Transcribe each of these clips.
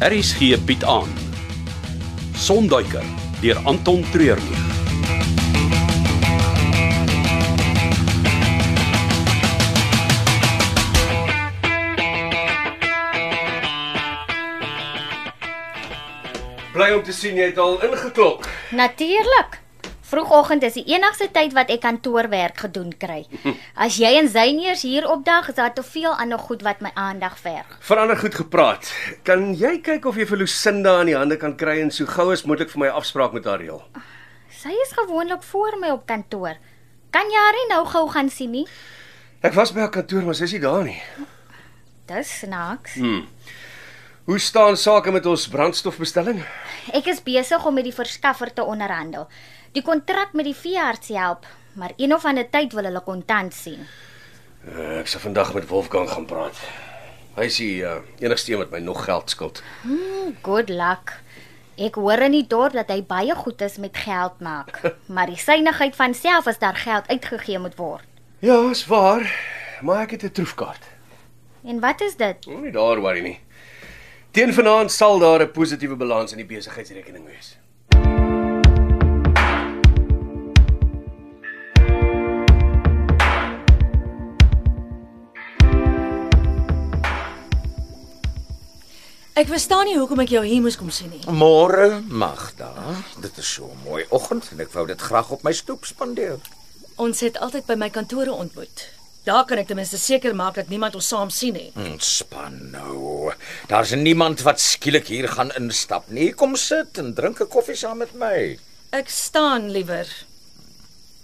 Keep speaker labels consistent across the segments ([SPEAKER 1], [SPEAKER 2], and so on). [SPEAKER 1] Harris gee Piet aan. Sonduiker deur Anton Treurnig.
[SPEAKER 2] Bly om te sien jy het al ingeklok.
[SPEAKER 3] Natuurlik. Vroegoggend is die enigste tyd wat ek kantoorwerk gedoen kry. As jy en Zyniers hier opdag, is daar te veel ander goed wat my aandag verg.
[SPEAKER 2] Verander goed gepraat. Kan jy kyk of jy vir Lucinda in die hande kan kry en so gou as moontlik vir my 'n afspraak met haar reël?
[SPEAKER 3] Sy is gewoonlik voor my op kantoor. Kan jy haar nie nou gou gaan sien nie?
[SPEAKER 2] Ek was by haar kantoor, maar sy is nie daar nie.
[SPEAKER 3] Dis snaaks.
[SPEAKER 2] Hoe staan sake met ons brandstofbestelling?
[SPEAKER 3] Ek is besig om met die verskaffer te onderhandel. Die kontrak met die veearts help, maar een of ander tyd wil hulle kontant sien.
[SPEAKER 2] Uh, ek sal vandag met Wolfgang gaan praat. Hy is die uh, enigste een wat my nog geld skuld.
[SPEAKER 3] Hmm, Good luck. Ek hoor in die dorp dat hy baie goed is met geld maak, maar die synigheid van self as daar geld uitgegee moet word.
[SPEAKER 2] Ja, is waar, maar ek het 'n troefkaart.
[SPEAKER 3] En wat is dit?
[SPEAKER 2] Moenie daaroor nie. Teen vanaand sal daar 'n positiewe balans in die besigheidsrekening wees.
[SPEAKER 4] Ek verstaan nie hoekom ek jou hier moes kom sien nie.
[SPEAKER 5] Môre, Magda. Dit is so 'n mooi oggend en ek wou dit graag op my stoep spandeer.
[SPEAKER 4] Ons het altyd by my kantore ontmoet. Daar kan ek ten minste seker maak dat niemand ons saam sien nie.
[SPEAKER 5] Ontspan nou. Daar's niemand wat skielik hier gaan instap nie. Kom sit en drink 'n koffie saam met my.
[SPEAKER 4] Ek staan liewer.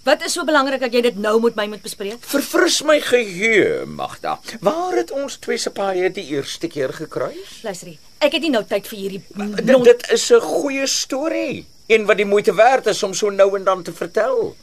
[SPEAKER 4] Wat is so belangrik dat jy dit nou met my moet bespreek?
[SPEAKER 5] Verfris my geheue, Magda. Waar het ons twee se paaie die eerste keer gekruis?
[SPEAKER 4] Luisterie, ek het nie nou tyd vir hierdie
[SPEAKER 5] Dit,
[SPEAKER 4] non-
[SPEAKER 5] Ah, dit is 'n goeie storie, een wat die moeite werd is om so nou en dan te vertel.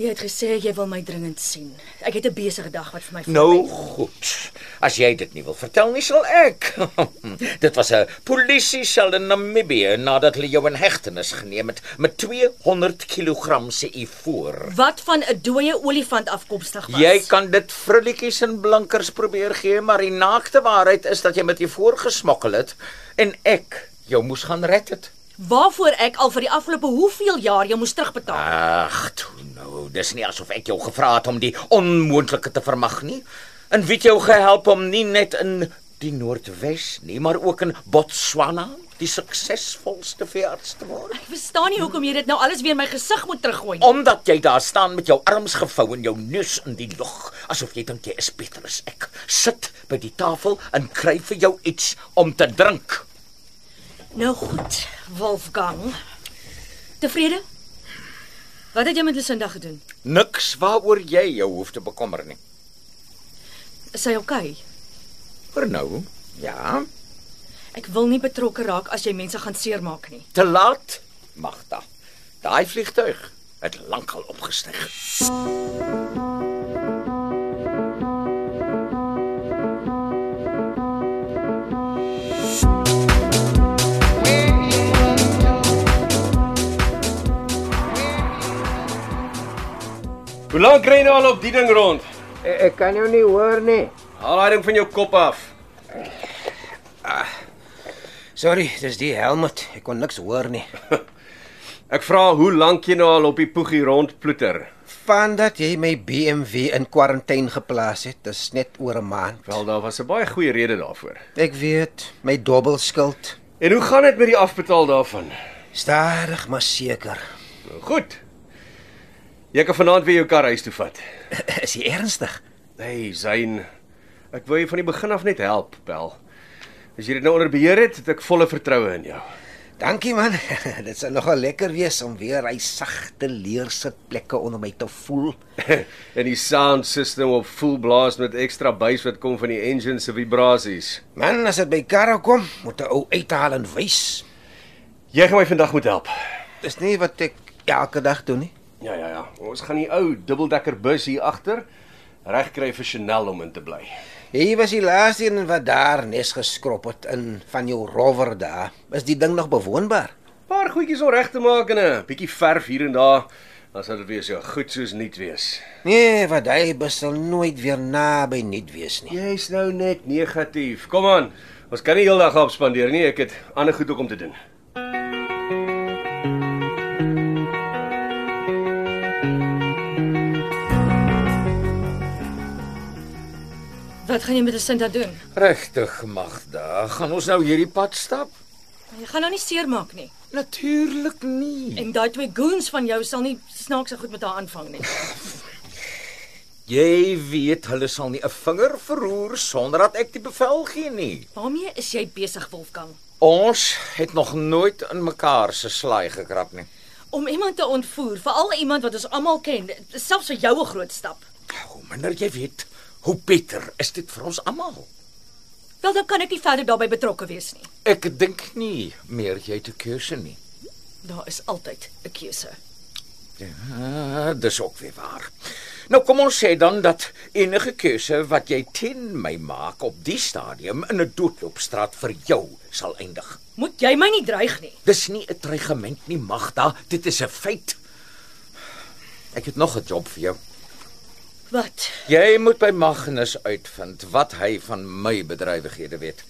[SPEAKER 4] Jy het gesê jy wil my dringend sien. Ek het 'n besige dag wat vir my
[SPEAKER 5] Nou
[SPEAKER 4] voorlê.
[SPEAKER 5] goed. As jy dit nie wil vertel nie, sal ek. dit was 'n polisie sel in Namibië nadat hulle jou in hegtenis geneem het met 200 kg se ivoor.
[SPEAKER 4] Wat van 'n dooie olifant afkomstig was?
[SPEAKER 5] Jy kan dit frilletjies en blinkers probeer gee, maar die naakte waarheid is dat jy met ivoor gesmokkel het en ek jou moes gaan red het.
[SPEAKER 4] waarvoor ek al vir die afgelope hoeveel jaar jou moes terugbetaal.
[SPEAKER 5] Ah. Ag, toe nou, dis nie asof ek jou gevra het om die onmoontlike te vermag nie. En wie het jou gehelp om nie net in die Noordwes nie, maar ook in Botswana die suksesvolste veearts te word?
[SPEAKER 4] Ek verstaan nie hoekom jy dit nou alles weer in my gesig moet teruggooi nie.
[SPEAKER 5] Omdat jy daar staan met jou arms gevou en jou neus in die lug, asof jy dink jy is beter as ek. Sit by die tafel en kry vir jou iets om te drink.
[SPEAKER 4] Nou goed, Wolfgang. Tevrede? Wat het jy met Lucinda gedoen?
[SPEAKER 5] Niks waaroor jy jou hoef te bekommer nie.
[SPEAKER 4] Is sy oukei? Okay?
[SPEAKER 5] Vir nou, ja.
[SPEAKER 4] Ek wil nie betrokke raak as jy mense gaan seermaak nie.
[SPEAKER 5] Te laat, Magda. Daai vliegtuig het lankal opgestyg.
[SPEAKER 2] Hoe lank ry jy nou al op die ding rond?
[SPEAKER 6] Ek, Eh, ek kan jou nie hoor nie.
[SPEAKER 2] Haal daai ding van jou kop af.
[SPEAKER 6] Sorry, dis die Helmut. Ek kon niks hoor nie.
[SPEAKER 2] Ek vra hoe lank jy nou al op die poegie rondploeter.
[SPEAKER 6] Vandat jy my BMW in kwarantyne geplaas het, dis net oor 'n maand.
[SPEAKER 2] Wel, daar was 'n baie goeie rede daarvoor.
[SPEAKER 6] Ek weet, my dubbelskuld.
[SPEAKER 2] En hoe gaan dit met die afbetaal daarvan?
[SPEAKER 6] Stadig maar seker.
[SPEAKER 2] Nou, Goed. Jy kan vanaand weer jou kar huis toe vat.
[SPEAKER 6] Is jy ernstig?
[SPEAKER 2] Hey, Zain. Ek wou jou van die begin af net help, Bel. As jy dit nou onder beheer het, het ek volle vertroue in jou.
[SPEAKER 6] Dankie man. Dit sal nogal lekker wees om weer hy sagte leersitplekke onder my te voel.
[SPEAKER 2] en die sound system op full blast met ekstra buis wat kom van die engine se vibrasies.
[SPEAKER 6] Man, as dit by karre kom, moet 'n ou uithaal en wys.
[SPEAKER 2] Jy gaan my vandag moet help.
[SPEAKER 6] Dis nie wat ek elke dag doen nie.
[SPEAKER 2] Ja ja ja. Ons gaan die ou dubbeldekker bus hier agter regkry vir Chanel om in te bly.
[SPEAKER 6] Hy was die laaste een wat daar nes geskrop het in van jou rower daar. Is die ding nog bewoonbaar?
[SPEAKER 2] Paar goedjies om reg te maak en 'n bietjie verf hier en daar. Dan sal dit weer so goed soos nuut wees.
[SPEAKER 6] Nee, wat hy besal nooit weer naby nuut wees nie.
[SPEAKER 2] Jy's nou net negatief. Kom aan. Ons kan nie heeldag op spandeer nie. Ek het ander goed ook om te doen.
[SPEAKER 4] Wat gaan jy met Jacinta doen?
[SPEAKER 5] Regtig, Magda, gaan ons nou hierdie pad stap?
[SPEAKER 4] Jy gaan nou nie seermaak nie.
[SPEAKER 5] Natuurlik nie.
[SPEAKER 4] En daai twee goons van jou sal nie snaaks so goed met haar aanvang nie.
[SPEAKER 5] Jy weet hulle sal nie 'n vinger verroer sonder dat ek die bevel gee nie.
[SPEAKER 4] Waarmee is jy besig, Wolfgang?
[SPEAKER 5] Ons het nog nooit in mekaar se slaai gekrap nie.
[SPEAKER 4] Om iemand te ontvoer, veral iemand wat ons almal ken, is selfs vir jou 'n groot stap.
[SPEAKER 5] Hoe minder jy weet, hoe beter is dit vir ons almal.
[SPEAKER 4] Wel dan kan ek nie verder daarbey betrokke wees nie.
[SPEAKER 5] Ek dink nie meer jy te keuse nie.
[SPEAKER 4] Daar is altyd 'n keuse.
[SPEAKER 5] Ja, dis ook weer waar. Nou kom ons sê dan dat enige keuse wat jy teen my maak op die stadium in 'n doodloopstraat vir jou sal eindig.
[SPEAKER 4] Moet jy my nie dreig nie.
[SPEAKER 5] Dis nie 'n dreigement nie, Magda, dit is 'n feit. Ek het nog 'n job vir jou.
[SPEAKER 4] Wat?
[SPEAKER 5] Jy moet by Magnus uitvind wat hy van my bedrywighede weet.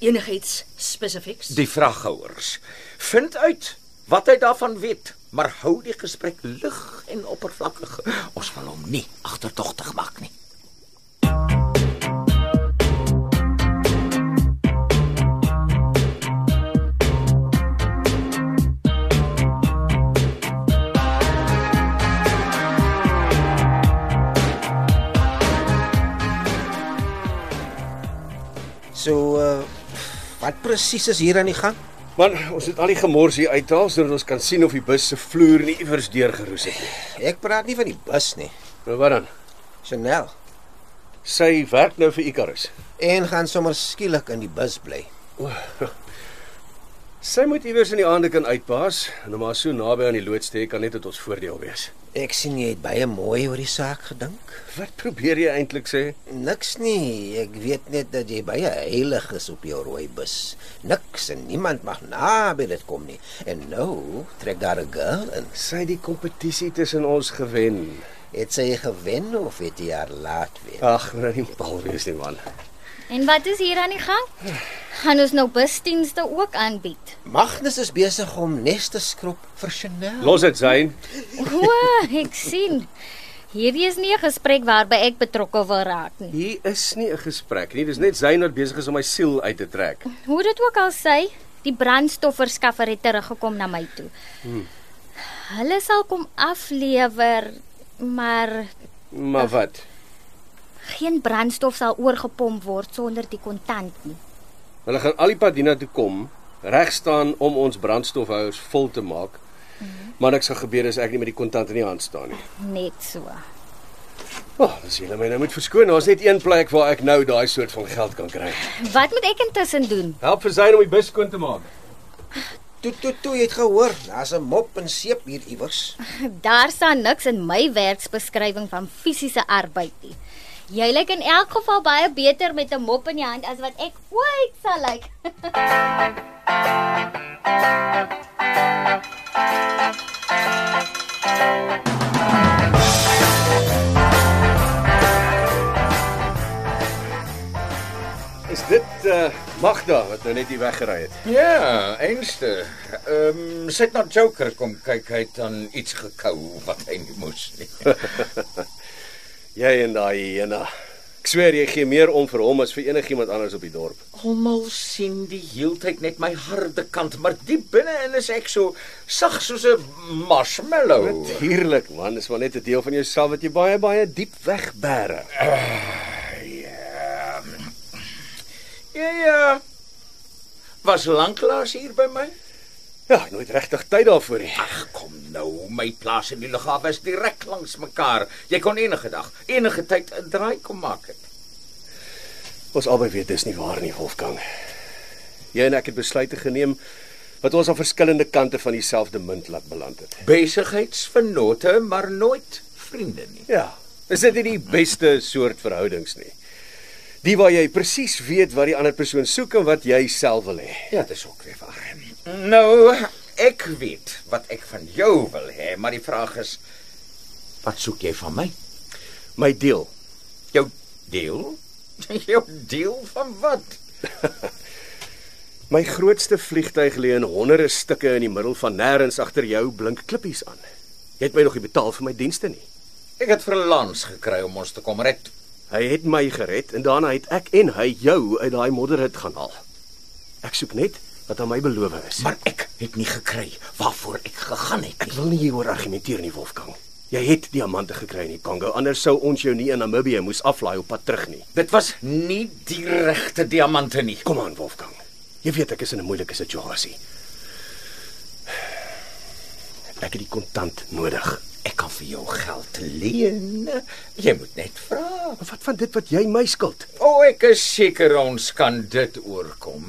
[SPEAKER 4] Enigiets spesifieks?
[SPEAKER 5] Die vraghouers. Vind uit wat hy daarvan weet, maar hou die gesprek lig en oppervlakkig. Ons wil hom nie agterdogtig maak nie.
[SPEAKER 6] So uh, wat presies is hier aan die gang?
[SPEAKER 2] Man, ons het al die gemors hier uithaal sodat ons kan sien of die bus se vloer nie iewers deurgeroes het nie.
[SPEAKER 6] Ek praat nie van die bus nie.
[SPEAKER 2] Nou wat dan?
[SPEAKER 6] Chanel
[SPEAKER 2] Sy werk nou vir Icarus.
[SPEAKER 6] en gaan sommer skielik in die bus bly.
[SPEAKER 2] Sy moet iewers in die aande kan uitpaas en om haar so naby aan die loods te hê kan net tot ons voordeel wees.
[SPEAKER 6] Ek sien jy het baie mooi oor die saak gedink.
[SPEAKER 2] Wat probeer jy eintlik sê?
[SPEAKER 6] Niks nie. Ek weet net dat jy baie heilig is op jou rooi bus. Niks en niemand mag naby dit kom nie. En nou trek daar 'n girl in.
[SPEAKER 2] Sy het die kompetisie tussen ons gewen.
[SPEAKER 6] Het sy gewen of het jy haar laat wen?
[SPEAKER 2] Ag, moet nou nie bal wees nie, man.
[SPEAKER 3] En wat is hier aan die gang? Gaan ons nou busdienste ook
[SPEAKER 6] Ah.
[SPEAKER 3] aanbied?
[SPEAKER 6] Magnus is besig om nes te skrob vir Chanel.
[SPEAKER 2] Los dit, Zayn.
[SPEAKER 3] O, ek sien. Hierdie is nie 'n gesprek waarby ek betrokke wil raak nie.
[SPEAKER 2] Hier is nie 'n gesprek nie. Dis net Zayn wat besig is om my siel uit te trek.
[SPEAKER 3] Hoe dit ook al sê, die brandstofverskaffer het teruggekom na my toe. Hulle sal kom aflewer, maar
[SPEAKER 2] Maar wat?
[SPEAKER 3] geen brandstof sal oorgepomp word sonder die kontant nie.
[SPEAKER 2] Hulle gaan al die pad hiernatoe kom, reg staan om ons brandstofhouers vol te maak. Maar niks gaan gebeur as ek nie met die kontant in die hand staan nie.
[SPEAKER 3] Net so.
[SPEAKER 2] O, oh, as julle my nou moet verskoon, daar's net een plek waar ek nou daai soort van geld kan kry.
[SPEAKER 3] Wat moet ek intussen doen?
[SPEAKER 2] Help vir Zayn om die bus skoon te maak.
[SPEAKER 6] Toe toe toe, jy het gehoor, daar's 'n mop en seep hier iewers.
[SPEAKER 3] Daar staan niks in my werksbeskrywing van fisiese arbeid nie. Jy lyk in elk geval baie beter met 'n mop in die hand as wat ek ooit sal lyk.
[SPEAKER 2] Is dit eh uh, Magda wat nou net hier weggery het?
[SPEAKER 5] Ja, eenste. Ehm um, sit nou Joker kom kyk, hy het aan iets gekou wat hy nie moes nie.
[SPEAKER 2] Jy en daai hyena. Ek sweer jy gee meer om vir hom as vir enigiemand anders op die dorp.
[SPEAKER 5] Almal sien die heeltyd net my harde kant, maar diep binne-in is ek so sag soos 'n marshmallow.
[SPEAKER 2] Natuurlik man, dis maar net 'n deel van jouself wat jy baie baie diep wegbære.
[SPEAKER 5] Ja. Ja ja. Was lanklaas hier by my?
[SPEAKER 2] Ja, ek het nooit regtig tyd daarvoor nie.
[SPEAKER 5] Ag, kom nou, my plaas in die lughawe is direk langs mekaar. Jy kon enige dag, enige tyd 'n draai kom maak het.
[SPEAKER 2] Ons albei weet dis nie waar nie, Wolfgang. Jy en ek het besluite geneem wat ons aan verskillende kante van dieselfde munt laat beland het.
[SPEAKER 5] Besigheidsvennote, maar nooit vriende nie.
[SPEAKER 2] Ja, is dit nie die beste soort verhoudings nie? Die waar jy presies weet wat die ander persoon soek en wat jy self wil hê.
[SPEAKER 5] Ja, dis ook weer waar. Nou, ek weet wat ek van jou wil hê, maar die vraag is wat soek jy van my?
[SPEAKER 2] My deel.
[SPEAKER 5] Jou deel? Jou deel van wat?
[SPEAKER 2] My grootste vliegtyg lê in honderde stukke in die middel van nêrens agter jou blink klippies aan. Jy het my nog nie betaal vir my dienste nie.
[SPEAKER 5] Ek het vir Lans gekry om ons te kom red.
[SPEAKER 2] Hy het my gered en daarna het ek en hy jou uit daai modderhut gaan haal. Ek soek net wat aan my beloof is.
[SPEAKER 5] Maar ek het nie gekry waarvoor ek gegaan het
[SPEAKER 2] ek
[SPEAKER 5] nie.
[SPEAKER 2] wil nie hieroor argumenteer nie, Wolfgang. Jy het diamante gekry in die Kongo, anders sou ons jou nie in Namibië moes aflaai op pad terug nie.
[SPEAKER 5] Dit was nie die regte diamante nie.
[SPEAKER 2] Kom aan, Wolfgang. Jy weet ek is in 'n moeilike situasie. Ek het die kontant nodig.
[SPEAKER 5] Ek kan vir jou geld leen. Jy moet net vra.
[SPEAKER 2] Maar wat van dit wat jy my skuld?
[SPEAKER 5] O, ek is seker ons kan dit oorkom.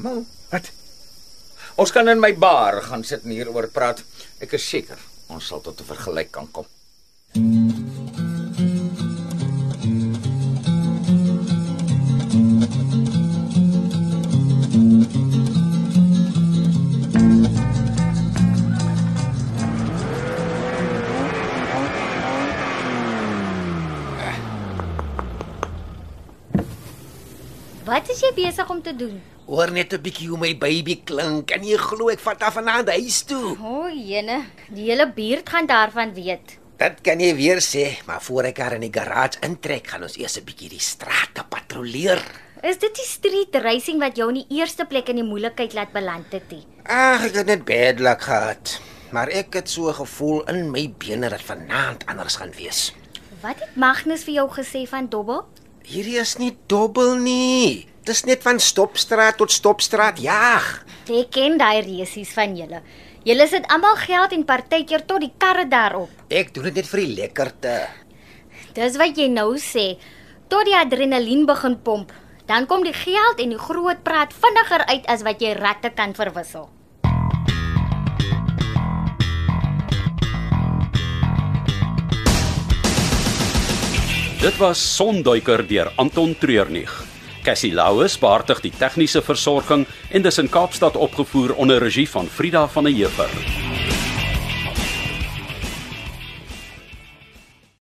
[SPEAKER 2] Wat?
[SPEAKER 5] Ons kan in my bar gaan sit en hieroor praat. Ek is seker ons sal tot 'n vergelyk kan kom.
[SPEAKER 3] Wat is jy besig om te doen?
[SPEAKER 6] Hoor net 'n bietjie hoe my baby klink. En jy glo ek vat af vanaand huis toe.
[SPEAKER 3] O, oh, jene, die hele buurt gaan daarvan weet.
[SPEAKER 6] Dit kan jy weer sê, maar voor ek haar in die garage intrek, gaan ons eers 'n bietjie die strate patrolleer.
[SPEAKER 3] Is dit die street racing wat jou in die eerste plek in die moeilikheid laat beland het? nie?
[SPEAKER 6] Ag, ek het net bad luck gehad. Maar ek het so 'n gevoel in my bene dat vanaand anders gaan wees.
[SPEAKER 3] Wat het Magnus vir jou gesê van dobbel?
[SPEAKER 6] Hierdie is nie dobbel nie. Dis net van stopstraat tot stopstraat jaag.
[SPEAKER 3] Ek ken daai resies van julle. Julle sit almal geld en partykeer tot die karre daarop.
[SPEAKER 6] Ek doen dit net vir die lekkerte.
[SPEAKER 3] Dis wat jy nou sê. Tot die adrenalien begin pomp, dan kom die geld en die groot praat vinniger uit as wat jy ratte kan verwissel.
[SPEAKER 1] Dit was Sonduiker deur Anton Treurnig. Cassie Louws beheerdig die tegniese versorging en dis in Kaapstad opgevoer onder regie van Frida van der Heever.